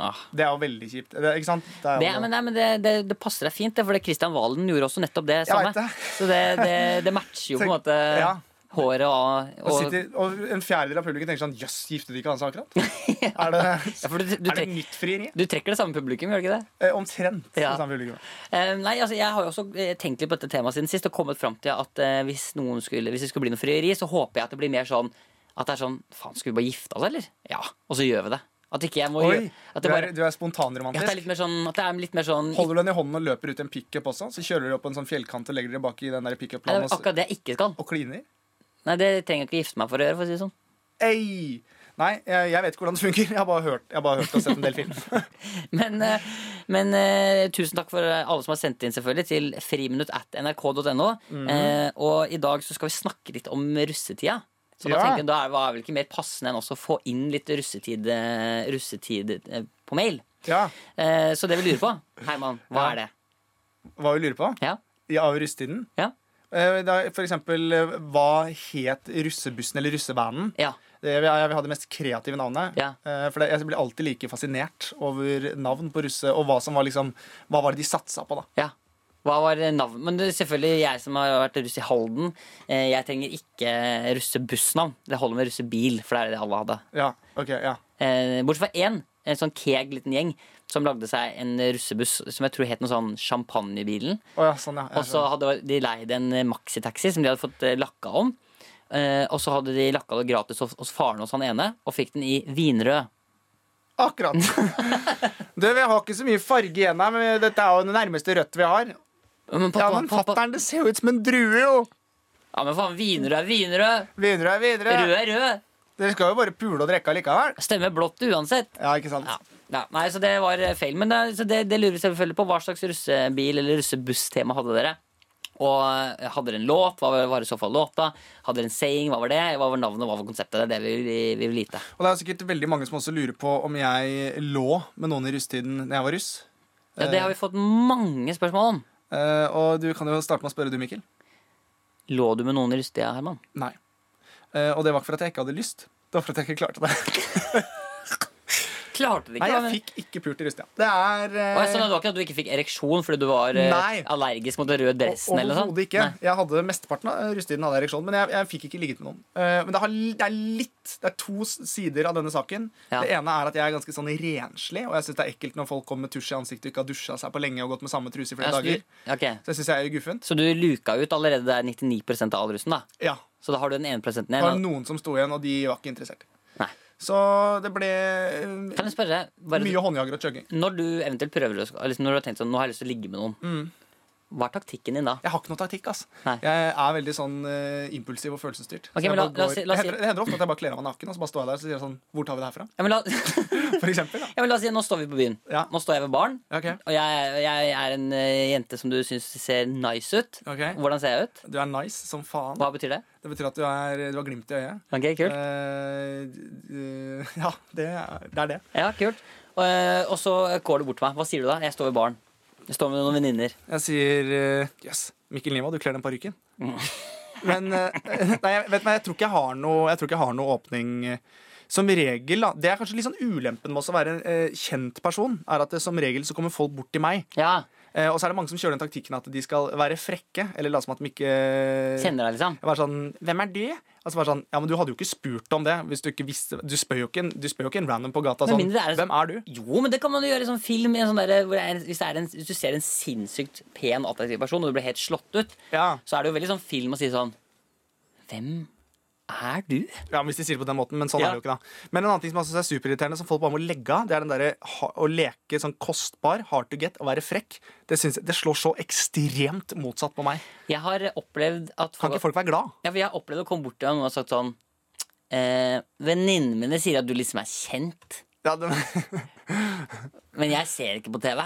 B: Ah.
C: Det er jo veldig kjipt. Det, ikke sant? Det er
B: Det,
C: jo,
B: men nei, men det, det, det passer deg fint, det, for det Christian Valen gjorde også nettopp det
C: Jeg
B: samme.
C: vet det.
B: Så det, det, det matcher jo på en måte
C: Ja.
B: håret og,
C: og,
B: og
C: sitter, og en fjerdedel av publikum tenker sånn 'Jøss, giftet ikke han seg akkurat?' Er det,
B: ja, for du, du,
C: er det
B: trek,
C: nytt frieri?
B: du trekker det samme publikum, gjør du ikke det?
C: Eh, Omtrent.
B: Ja.
C: det samme publikum.
B: Eh, nei, altså Jeg har jo også eh, tenkt litt på dette temaet siden sist og kommet fram til at eh, hvis, noen skulle, hvis det skulle bli noe frieri, så håper jeg at det blir mer sånn at det er sånn Faen, skulle vi bare gifte oss, eller? Ja. Og så gjør vi det. At ikke jeg må
C: Oi,
B: gjøre at
C: du
B: det,
C: er,
B: bare, ja, at
C: du er
B: det er
C: spontanromantisk.
B: litt mer sånn At det er litt mer sånn
C: Holder du den i hånden og løper ut i en pickup også? Så kjører du opp en sånn fjellkant og legger dere bak i den der
B: Nei, det
C: pickup-planen
B: er
C: og, s-
B: akkurat det jeg ikke skal.
C: og kliner?
B: Nei, Det trenger jeg ikke gifte meg for å gjøre. for å si det sånn
C: Ei! Nei, jeg, jeg vet ikke hvordan det funker. Jeg har bare hørt, jeg har bare hørt og sett en del film.
B: Men, eh, men eh, tusen takk for eh, alle som har sendt inn, selvfølgelig, til friminutt at nrk.no.
C: Mhm.
B: eh, og i dag så skal vi snakke litt om russetida. Så da
C: Ja.
B: tenker jeg, da er- var vel ikke mer passende enn også å få inn litt russetid, eh, russetid eh, på mail.
C: Ja,
B: Eh, så det vi lurer på, Herman, hva
C: Ja.
B: er det?
C: Hva vi lurer på?
B: Ja,
C: Ja, av russetiden?
B: ja,
C: Eh, da, For eksempel, eh, hva het russebussen eller russebanden?
B: ja.
C: Det vil jeg vil ha det mest kreative navnet.
B: Ja.
C: Eh, For det, jeg blir alltid like fascinert over navn på russe, og hva som var liksom Hva var det de satsa på, da?
B: ja. Hva var navnet? Men det er selvfølgelig jeg som har vært russ i Halden. eh, Jeg trenger ikke russebussnavn. Det holder med russebil, for det er det alle hadde.
C: Ja, ok, ja
B: Eh, bortsett fra én, en sånn keeg liten gjeng, som lagde seg en russebuss som jeg tror het noe sånn Champagnebilen.
C: Å ja, sånn, ja. Jeg
B: Og så hadde de leid en eh, maxitaxi som de hadde fått eh, lakka om. Eh, og så hadde de lakka det gratis hos, hos faren hos han ene, og fikk den i vinrød.
C: Akkurat. Du, vi har ikke så mye farge igjen her, men dette er jo det nærmeste rødt vi har.
B: Men
C: Ja,
B: pappa,
C: men
B: pappa,
C: fatter'n, det ser jo ut som en drue, jo.
B: ja, men faen, vinrød er vinrød!
C: Videre, videre.
B: Rød er rød!
C: Dere skal jo bare pule og drikke likevel.
B: Stemmer blått uansett.
C: Ja, ikke sant?
B: Ja. Ja, nei, så det var eh, feil. Men det, så det, det lurer vi selvfølgelig på. Hva slags russebil eller russebusstema hadde dere? Og eh, hadde dere en låt? Hva var- var i så fall låta? Hadde dere en saying? Hva var det? Hva var navnet? Hva var konseptet? Det er det vi, vi, vi vil vite.
C: Og det er sikkert veldig mange som også lurer på om jeg lå med noen i russetiden da jeg var russ.
B: Ja, det har vi fått mange spørsmål om.
C: Eh, og du kan jo starte med å spørre du, Mikkel.
B: Lå du med noen i russetida, Herman?
C: Nei. Eh, og det var ikke for at jeg ikke hadde lyst. Det var for at jeg ikke klarte det.
B: Klarte det ikke.
C: Nei,
B: men-
C: jeg fikk ikke pult i russetida. Det er eh,
B: Å, jeg skjønner, det var ikke at du ikke fikk ereksjon fordi du var eh,
C: Nei.
B: allergisk mot den røde dressen? eller noe sånt?
C: Overhodet ikke.
B: Nei.
C: Jeg hadde mesteparten av russetiden hadde jeg ereksjon, men jeg, jeg fikk ikke ligget med noen. Eh, men det, har, li- det er litt Det er to s- sider av denne saken.
B: Ja.
C: Det ene er at jeg er ganske sånn renslig, og jeg syns det er ekkelt når folk kommer med tusj i ansiktet og ikke har dusja seg på lenge og gått med samme truse i flere
B: Ja, så,
C: dager.
B: du, ok.
C: Så jeg syns jeg er guffent.
B: så du luka ut allerede der 99 av all russen, da?
C: Ja.
B: Så da har du den ene prosenten
C: Det var
B: igjen?
C: noen som sto igjen, og de var ikke interessert.
B: Nei.
C: Så det ble
B: da.
C: eh,
B: Kan jeg spørre? bare-
C: mye håndjager og chugging.
B: Når du eventuelt prøver å sk- liksom Når du har tenkt sånn, nå har jeg lyst til å ligge med noen
C: Mm.
B: Hva er taktikken din da?
C: Jeg har ikke noe taktikk. ass
B: Nei.
C: Jeg er veldig sånn eh, impulsiv og følelsesstyrt. Så
B: Ok,
C: jeg
B: men la-
C: bare
B: la oss
C: går-
B: si- la oss
C: det
B: si-
C: hender- det hender ofte at jeg bare kler av meg naken og så bare står jeg der og så sier jeg sånn Hvor tar vi det her fra?
B: Ja, men la, ja,
C: For eksempel. Da.
B: men la oss si, nå står vi på byen
C: Ja.
B: Nå står jeg ved baren
C: Ok.
B: Og jeg, jeg er en eh, jente som du synes ser nice ut
C: Ok.
B: Hvordan ser jeg ut?
C: Du er nice som faen.
B: Hva betyr det?
C: Det betyr at du, er, du har glimt i øyet.
B: Ok, kult
C: Eh, d- d- ja, det er, det er det.
B: Ja, kult Og, eh, og så går du bort til meg Hva sier du da? Jeg står ved baren Jeg står med noen venninner
C: Jeg sier eh, Jøss, Mikkel Niva, du kler den parykken.
B: Mm.
C: Men eh, nei, jeg, vet du hva, jeg tror ikke jeg har noe, jeg tror ikke jeg har noe åpning eh, som regel, da. Det er kanskje litt sånn ulempen med også å være en eh, kjent person. Er at eh, Som regel så kommer folk bort til meg.
B: Ja,
C: Eh, og så er det mange som kjører den taktikken at de skal være frekke. Eller late som at de ikke
B: kjenner deg liksom
C: Jeg var sånn, hvem er du? Og så var det sånn, ja, men du hadde jo ikke spurt om det hvis du ikke visste Du spør jo ikke en, du spør jo ikke en random på gata
B: Men
C: sånn,
B: mindre det er det-
C: hvem er du?
B: Jo, men det kan man jo gjøre i sånn film i en sånn derre hvor det er, hvis, det er en, hvis du ser en sinnssykt pen og attraktiv person Og du blir helt slått ut
C: Ja.
B: så er det jo veldig sånn film å si sånn Hvem er du?
C: ja, hvis de sier det på den måten, men sånn
B: Ja.
C: er det jo ikke da Men en annen ting som jeg synes er superirriterende, som folk bare må legge av, det er den derre ha- å leke sånn kostbar, hard to get, å være frekk. Det, synes, jeg- det slår så ekstremt motsatt på meg.
B: Jeg har opplevd at
C: Kan ikke folk være glad?
B: ja, for Jeg har opplevd å komme bort til meg og noen har sagt sånn eh, Venninnene mine sier at du liksom er kjent,
C: Ja, det,
B: men jeg ser ikke på TV.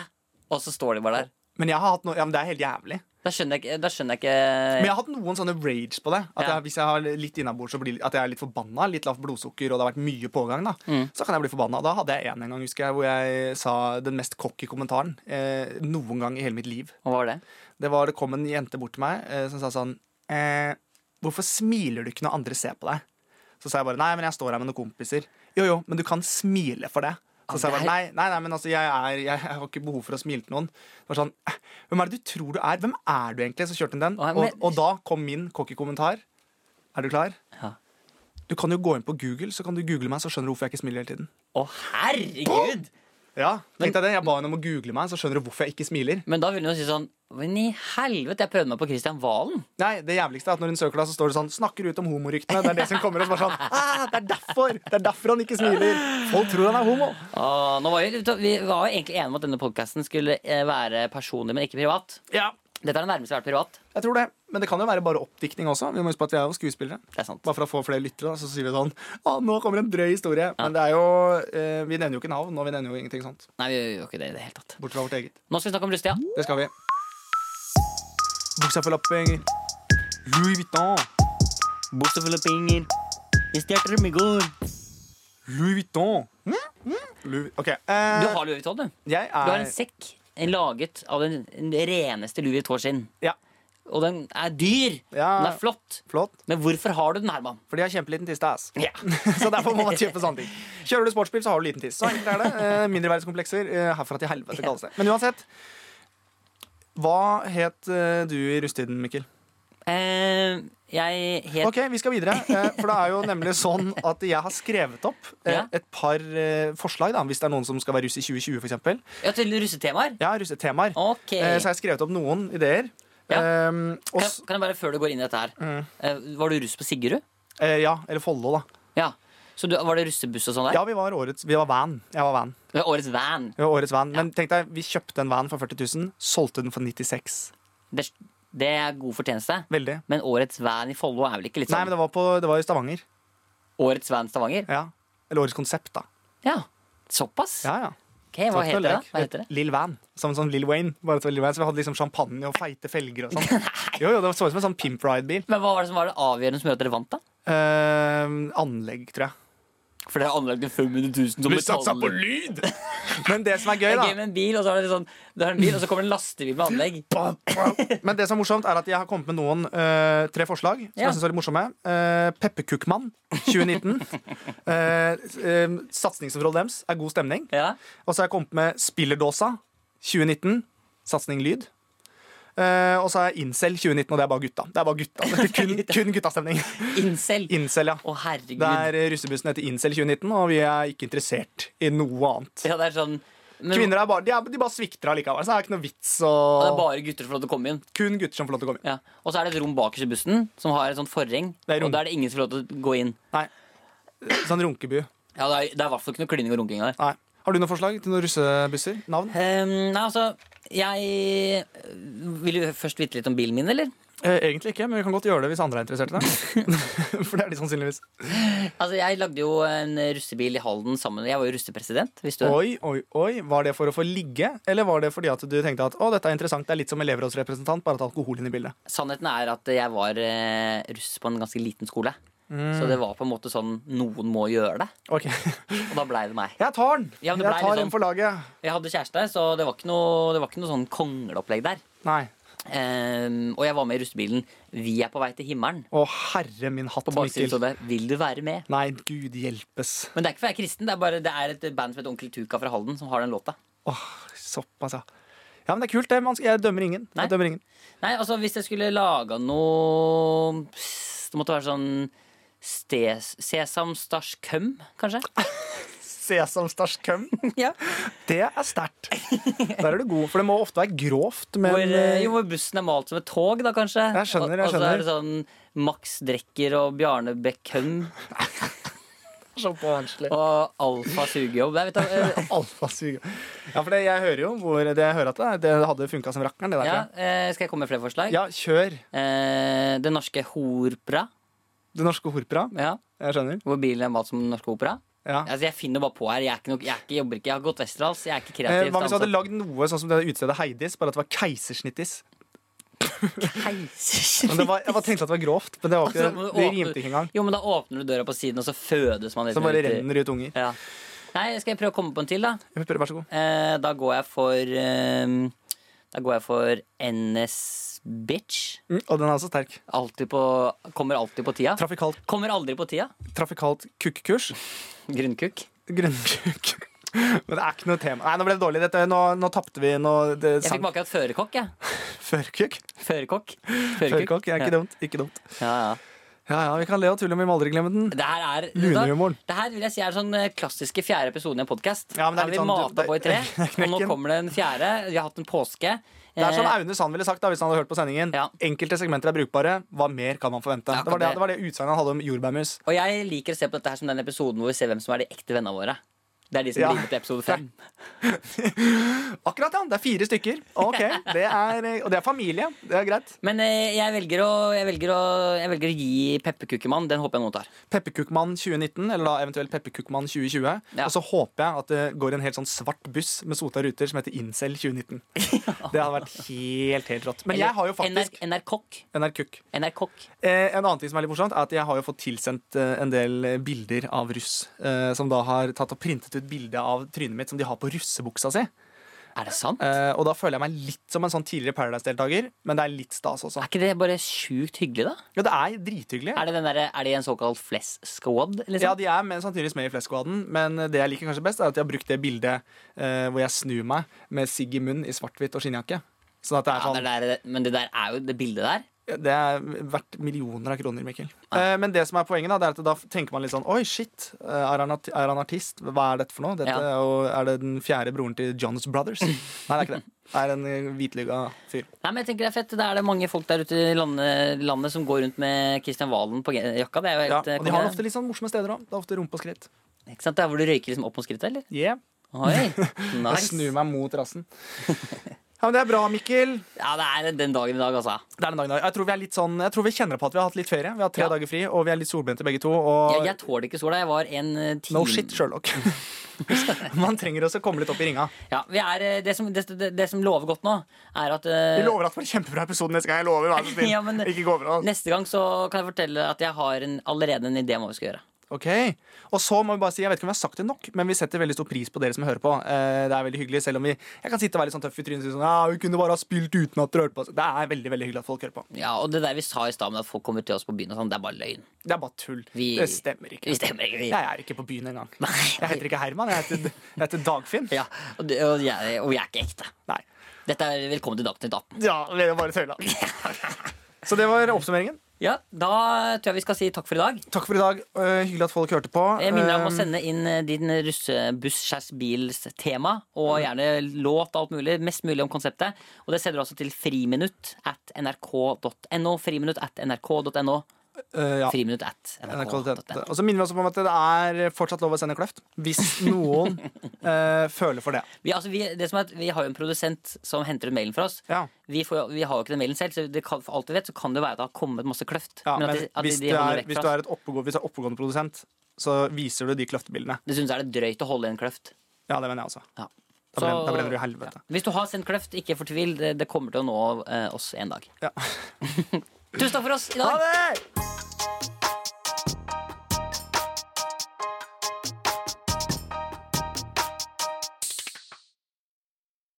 B: og så står de bare der.
C: Men jeg har hatt noe, ja, men det er helt jævlig.
B: Da skjønner jeg ikke, da skjønner jeg
C: Men
B: ikke
C: jeg har hatt noen sånne rage på det. At
B: Eh, Ja.
C: jeg, hvis jeg har litt innabords og blir, at jeg er litt forbanna, litt lavt blodsukker og det har vært mye pågang, da, så kan jeg bli forbanna. Da hadde jeg en en gang husker jeg, hvor jeg sa den mest cocky kommentaren eh, noen gang i hele mitt liv.
B: Hva var det?
C: Det var det kom en jente bort til meg eh, som sa sånn eh, Hvorfor smiler du ikke når andre ser på deg? Så sa jeg bare nei, men jeg står her med noen kompiser. Jo jo, men du kan smile for det. Så sa jeg bare
B: det
C: nei, nei, nei men altså, jeg, er, jeg har ikke behov for å smile til noen. Det var sånn, «Eh, Hvem er det du tror du er? Hvem er du egentlig? Så kjørte hun den.
B: Å, jeg-
C: Og, og da kom min cocky kommentar. Er du klar?
B: Ja.
C: Du kan jo gå inn på Google, så kan du google meg, så skjønner du hvorfor jeg ikke smiler hele tiden.
B: Å, herregud!
C: Ja, tenkte Jeg det. Jeg ba henne om å google meg, så skjønner du hvorfor jeg ikke smiler.
B: Men da ville hun jo si sånn Men i helvete, jeg prøvde meg på Christian Valen.
C: Nei, det jævligste er at når hun søker deg, så står det sånn Snakker ut om homoryktene. Det er det som kommer og så bare sånn ah, Det er derfor! Det er derfor han ikke smiler! Folk tror han er homo.
B: Å, nå var vi, vi var jo egentlig enige om at denne podkasten skulle eh, være personlig, men ikke privat.
C: Ja.
B: Dette er det nærmeste vi har vært privat.
C: Jeg tror det. Men det kan jo være bare oppdiktning også. Vi må huske på at vi er jo skuespillere.
B: Det er sant.
C: Bare for å få flere lyttere, da, så sier vi sånn Å, nå kommer en drøy historie. Men det er jo eh, Vi nevner jo ikke navn, og vi nevner jo ingenting sånt.
B: Nei, vi gjør jo ikke det i det hele tatt.
C: Bortsett fra vårt eget.
B: Nå skal vi snakke om brystet, ja.
C: Det skal vi. Buksa full av penger. Louis Vuitton.
B: Buksa full av penger. Jeg stjal dem i går.
C: Louis Vuitton. Louis... OK. eh,
B: Mm, Du har Louis Vuitton, du.
C: jeg
B: Du har
C: er
B: en sekk laget av den reneste Louis Vuitton-skinn.
C: Ja.
B: Og den er dyr.
C: Ja.
B: Den er flott.
C: Flott.
B: Men hvorfor har du den, Herman?
C: For de har kjempeliten tiss, ass.
B: Ja.
C: så derfor må man kjøpe sånne ting. Kjører du sportsbil, så har du liten tiss. Så enkelt er det. Eh, Mindreverdskomplekser eh, herfra til helvete kalles det. Men uansett. Hva het eh, du i rusttiden, Mikkel?
B: Eh, jeg het
C: Ok, Vi skal videre. eh, For det er jo nemlig sånn at jeg har skrevet opp eh,
B: Ja.
C: et par eh, forslag, da, hvis det er noen som skal være russ i 2020, f.eks.
B: Ja, til russetemaer?
C: Ja, russetemaer.
B: Ok.
C: Eh, Så jeg har skrevet opp noen ideer.
B: Ja.
C: Eh, og
B: Kan,
C: s-
B: kan jeg bare, før du går inn i dette her
C: Mm.
B: eh, Var du russ på Siggerud?
C: eh, ja, eller Follo, da.
B: Ja. Så du, var det russebuss og sånn der?
C: Ja, vi var årets Vi var van. Jeg var van.
B: Det var Årets van.
C: Vi var årets van. Men tenk deg, vi kjøpte en van for 40 000, solgte den for 96
B: Det, det er god fortjeneste.
C: Veldig.
B: Men årets van i Follo er vel ikke litt
C: Nei,
B: sånn
C: men det var, på, det var i Stavanger.
B: Årets van Stavanger?
C: Ja. Eller årets konsept, da.
B: Ja. Såpass?
C: Ja, ja.
B: Ok, hva
C: Takk for
B: heter, det,
C: lek.
B: da? hva heter det?
C: Lil Van. Som, som Lil Wayne. Bare at det var Lil Wayne. Så vi hadde liksom champagne og feite felger og sånn. Jo, jo, det så ut som en sånn Pimp Ride-bil.
B: Men hva var det som var det avgjørende som gjorde at dere vant, da?
C: Eh, anlegg, tror jeg.
B: For dere har anlagt en 500 000 som betaler.
C: lyd! Men det som er gøy,
B: Det er
C: da
B: gøy med en bil, og så er det sånn, det er en bil, og så kommer det en lastebil med anlegg.
C: Men det som er morsomt, er at jeg har kommet med noen eh, tre forslag som
B: Ja.
C: jeg synes er litt morsomme. Uh, Pepperkukkmann 2019. Eh, eh, Satsingsforholdet deres er god stemning.
B: Ja.
C: Og så har jeg kommet med Spillerdåsa 2019. Satsing lyd. Eh, og så har jeg Incel 2019, og det er bare gutta. Det er bare gutta. Det er kun, kun guttastemning.
B: Incel.
C: Incel, ja.
B: Å, herregud.
C: Det er eh, russebussen heter Incel 2019, og vi er ikke interessert i noe annet.
B: Ja, det er sånn men,
C: Kvinner er bare, de, er, de bare svikter allikevel, så det er ikke noe vits å
B: Og det er bare gutter som får lov til å komme inn.
C: Kun gutter som får lov til å komme inn.
B: Ja. Og så er det et rom bakerst i bussen som har et sånt forheng.
C: Det er
B: Og
C: rom.
B: da er det ingen som får lov til å gå inn.
C: Nei. Sånn runkebu.
B: Ja, Det er, det er i hvert fall ikke noe klining og runking der.
C: Nei. Har du noen forslag til noen russebusser? Navn?
B: Ehm, nei, altså Jeg øh, Vil du først vite litt om bilen min, eller?
C: Eh, egentlig ikke, men vi kan godt gjøre det hvis andre er interessert i det. For det er de sannsynligvis.
B: Altså, Jeg lagde jo en russebil i Halden sammen Jeg var jo russepresident. hvis du
C: Oi, oi, oi. Var det for å få ligge, eller var det fordi at du tenkte at å, dette er interessant, det er litt som elevrådsrepresentant, bare at alkohol inn i bildet?
B: Sannheten er at jeg var eh, russ på en ganske liten skole. Så det var på en måte sånn noen må gjøre det.
C: Ok. Jeg
B: Og da blei det meg.
C: tar den!
B: Ja, men det ble
C: jeg
B: liksom-
C: tar
B: litt
C: den for laget.
B: Jeg hadde kjæreste, så det var ikke noe, det var ikke noe sånn kongleopplegg der.
C: Nei.
B: Ehm, og jeg var med i russebilen 'Vi er på vei til himmelen'.
C: Å, herre min hatt,
B: På baksiden
C: Mikkel.
B: stod det 'Vil du være med?'
C: Nei, gud hjelpes.
B: Men det er ikke for jeg er kristen, det er bare det er et band som heter Onkel Tuka fra Halden, som har den låta.
C: Åh, såpass, ja. Ja, men det er kult, det. Man skal- Jeg dømmer ingen.
B: Nei.
C: Jeg dømmer ingen.
B: Nei, altså Hvis jeg skulle laga noe pss, Det måtte være sånn stes, Sesam, stars, køm, kanskje?
C: Sesam stars køm.
B: ja.
C: Det er sterkt. Der er du god, for det må ofte være grovt, men
B: hvor, eh, jo, hvor bussen er malt som et tog, da kanskje.
C: Jeg skjønner,
B: og,
C: jeg
B: og så er det sånn Max Drekker og Bjarne Beckham
C: så barnslig.
B: og Alfa Sugejobb. Nei, vet du, eh,
C: Alfasuger. Ja, for det, jeg hører jo hvor det jeg hører at det, det hadde funka som rakkeren, det der.
B: ja,
C: tror jeg.
B: eh, skal jeg komme med flere forslag?
C: Ja, kjør.
B: Eh, det norske Horpra.
C: Det norske horpera.
B: Ja,
C: Jeg skjønner.
B: hvor bilen er malt som den norske opera.
C: Ja.
B: Altså, jeg finner bare på her. Jeg, er ikke nok, jeg, er ikke, jobber ikke. jeg har gått Westerdals. Jeg er ikke
C: Eh,
B: kreativ.
C: Hva hvis du hadde lagd noe sånn som det utstedet Heidis, bare at det var keisersnittis? Men det var, jeg bare tenkte at det var grovt, men det, var ikke,
B: Altså,
C: det
B: åpner-
C: rimte ikke engang.
B: Jo, men da åpner du døra på siden, og så fødes man litt.
C: Så bare renner ut unger.
B: Ja. Nei, skal jeg prøve å komme på en til, da?
C: Vær så god.
B: Eh, da går jeg for eh, Da går jeg for NS Bitch.
C: Mm, og den er også sterk.
B: Alltid på Kommer alltid på tida.
C: Trafikalt,
B: Kommer aldri på tida.
C: trafikalt kukkekurs.
B: Grunnkukk.
C: Grønnkuk. Men det er ikke noe tema. Nei, nå ble det dårlig. Dette, nå nå tapte vi nå det
B: Jeg fikk
C: sank
B: bare akkurat førerkokk, jeg.
C: førkuk.
B: Førerkokk.
C: Førkokk, ja, ikke dumt. Ikke dumt.
B: Ja, ja.
C: Ja, ja, vi kan le og tulle, men vi må aldri glemme den.
B: Det her er
C: Lunehumoren.
B: Det her vil jeg si er sånn eh, klassiske fjerde episoden i en podkast.
C: Ja, men det er
B: Her har vi
C: litt sånn-
B: mata på i tre,
C: det-
B: og nå kommer det en fjerde. Vi har hatt en påske.
C: Det er som Aune Sand ville sagt da, hvis han hadde hørt på sendingen.
B: Eh. Ja.
C: Enkelte segmenter er brukbare. Hva mer kan man forvente?
B: Ja,
C: Det var det,
B: det-
C: det, var det utsagnet han hadde om jordbærmus.
B: Og jeg liker å se på dette her som den episoden hvor vi ser hvem som er de ekte vennene våre. Det er de som
C: Ja.
B: blir med til episode fem.
C: Akkurat, ja! Det er fire stykker. Ok, det er, Og det er familie. Det er greit.
B: Men eh, jeg velger å, jeg velger å, jeg velger å gi Pepperkukemann. Den håper jeg noen tar.
C: Pepperkukkmann 2019, eller da eventuelt Pepperkukkmann 2020.
B: Ja.
C: Og så håper jeg at det går en helt sånn svart buss med sota ruter som heter Incel 2019. Det hadde vært helt, helt rått. Men jeg har jo faktisk
B: NR, NR-kokk.
C: NRK.
B: NR-kokk.
C: Eh, en annen ting som er litt morsomt, er at jeg har jo fått tilsendt eh, en del eh, bilder av russ. Eh, som da har tatt og printet ut bilde av trynet mitt som de har på russebuksa si.
B: Er det sant?
C: Eh, og da føler jeg meg litt som en sånn tidligere Paradise-deltaker, men det er litt stas også.
B: Er ikke det bare sjukt hyggelig, da?
C: Ja, det er drithyggelig.
B: Er det, den derre- er det en såkalt flesh squad? Liksom?
C: Ja, de er med, sannsynligvis med i Fleskvaden, men det jeg liker kanskje best, er at de har brukt det bildet eh, hvor jeg snur meg med sigg i munnen i svart-hvitt og skinnjakke. Sånn at det er
B: Ja,
C: sånn
B: det der, men det der er jo det bildet der.
C: Ja, Det er verdt millioner av kroner, Mikkel. Eh, men det som er poenget da, det er at da tenker man litt sånn Oi, shit. eh, Er han, arti- er han artist? Hva er dette for noe? Dette,
B: Ja.
C: er jo- Er det den fjerde broren til Johns Brothers? Nei, det er ikke det. Det er en eh, hvitlugga fyr.
B: Nei, men jeg tenker det er fett. Da er det mange folk der ute i landet, landet som går rundt med Kristian Valen på gen- jakka. Det er jo
C: Ja,
B: helt eh,
C: og de
B: konge.
C: har ofte litt sånn morsomme steder òg. Det er ofte rumpe og skritt.
B: Ikke sant? Det er hvor du røyker liksom opp mot skrittet, eller?
C: Yeah.
B: Oi,
C: Jeg snur
B: nice.
C: meg mot rassen. Ja, men Det er bra, Mikkel.
B: Ja, det er den dagen i dag, altså.
C: Det er den dagen. i dag. Jeg tror vi er litt sånn, jeg tror vi kjenner på at vi har hatt litt ferie. Vi har hatt tre
B: Ja.
C: dager fri, og vi er litt solbrente begge to. Og
B: Jeg, jeg tåler ikke sola. Jeg var en eh, time
C: no shit, Sherlock. Man trenger også å komme litt opp i ringa.
B: Ja, vi er, eh, det, som, det, det, det som lover godt nå, er at eh,
C: Vi lover at det blir kjempebra episode neste gang. Jeg lover, vær så snill.
B: Ja, men-
C: Ikke gå fra oss.
B: neste gang så kan jeg fortelle at jeg har en, allerede en idé om hva vi skal gjøre.
C: Ok, Og så må vi bare si, jeg vet ikke om jeg har sagt det nok, men vi setter veldig stor pris på dere som hører på. Eh, Det er veldig hyggelig, selv om vi Jeg kan sitte og være litt sånn tøff i trynet og si sånn Ja, vi kunne bare ha spilt uten at dere hørte på oss. Det er veldig veldig hyggelig at folk hører på.
B: Ja, Og det der vi sa i stad med at folk kommer til oss på byen og sånn, det er bare løgn.
C: Det er bare tull.
B: Vi-
C: Det stemmer ikke.
B: Vi stemmer ikke, vi.
C: Jeg er ikke på byen engang.
B: Nei.
C: Jeg heter ikke Herman, jeg heter, jeg heter Dagfinn.
B: Ja, og, det- og, jeg, og jeg er ikke ekte.
C: Nei.
B: Dette er Velkommen til Dagsnytt 18.
C: Ja, vi er bare tøyla. Så det var oppsummeringen.
B: Ja, Da tror jeg vi skal si takk for i dag.
C: Takk for i dag. Eh, Hyggelig at folk hørte på.
B: Jeg minner deg om å
C: Eh,
B: sende inn eh, din russebuss-bils-tema, og
C: Mm.
B: gjerne låt og alt mulig. Mest mulig om konseptet. Og det sender du altså til friminutt at nrk.no. Friminutt at nrk.no.
C: eh, ja.
B: Friminutt at
C: NRK.no.
B: nrk.no.
C: Og så minner vi oss om at det er fortsatt lov å sende kløft. Hvis noen eh, føler for det.
B: Vi, altså, vi, det som er at vi har jo en produsent som henter ut mailen for oss.
C: Ja.
B: Vi, får, jo- vi har jo ikke den mailen selv, så det kan, for alt vi vet, så kan det være at det har kommet masse kløft.
C: Ja,
B: men at
C: men
B: de, at
C: hvis,
B: de
C: du
B: holder
C: er,
B: vekk
C: hvis, du
B: fra oss.
C: er et oppegående, hvis du er oppegående produsent, så viser du de kløftbildene.
B: Dessuten så er det drøyt å holde i en kløft.
C: Ja, det mener jeg også.
B: Ja.
C: Da brenner- da brenner du i helvete.
B: Hvis du har sendt kløft, ikke fortvil. Det, det kommer til å nå eh, oss en dag.
C: Ja.
B: Tusen takk for oss i dag.
C: Ha det!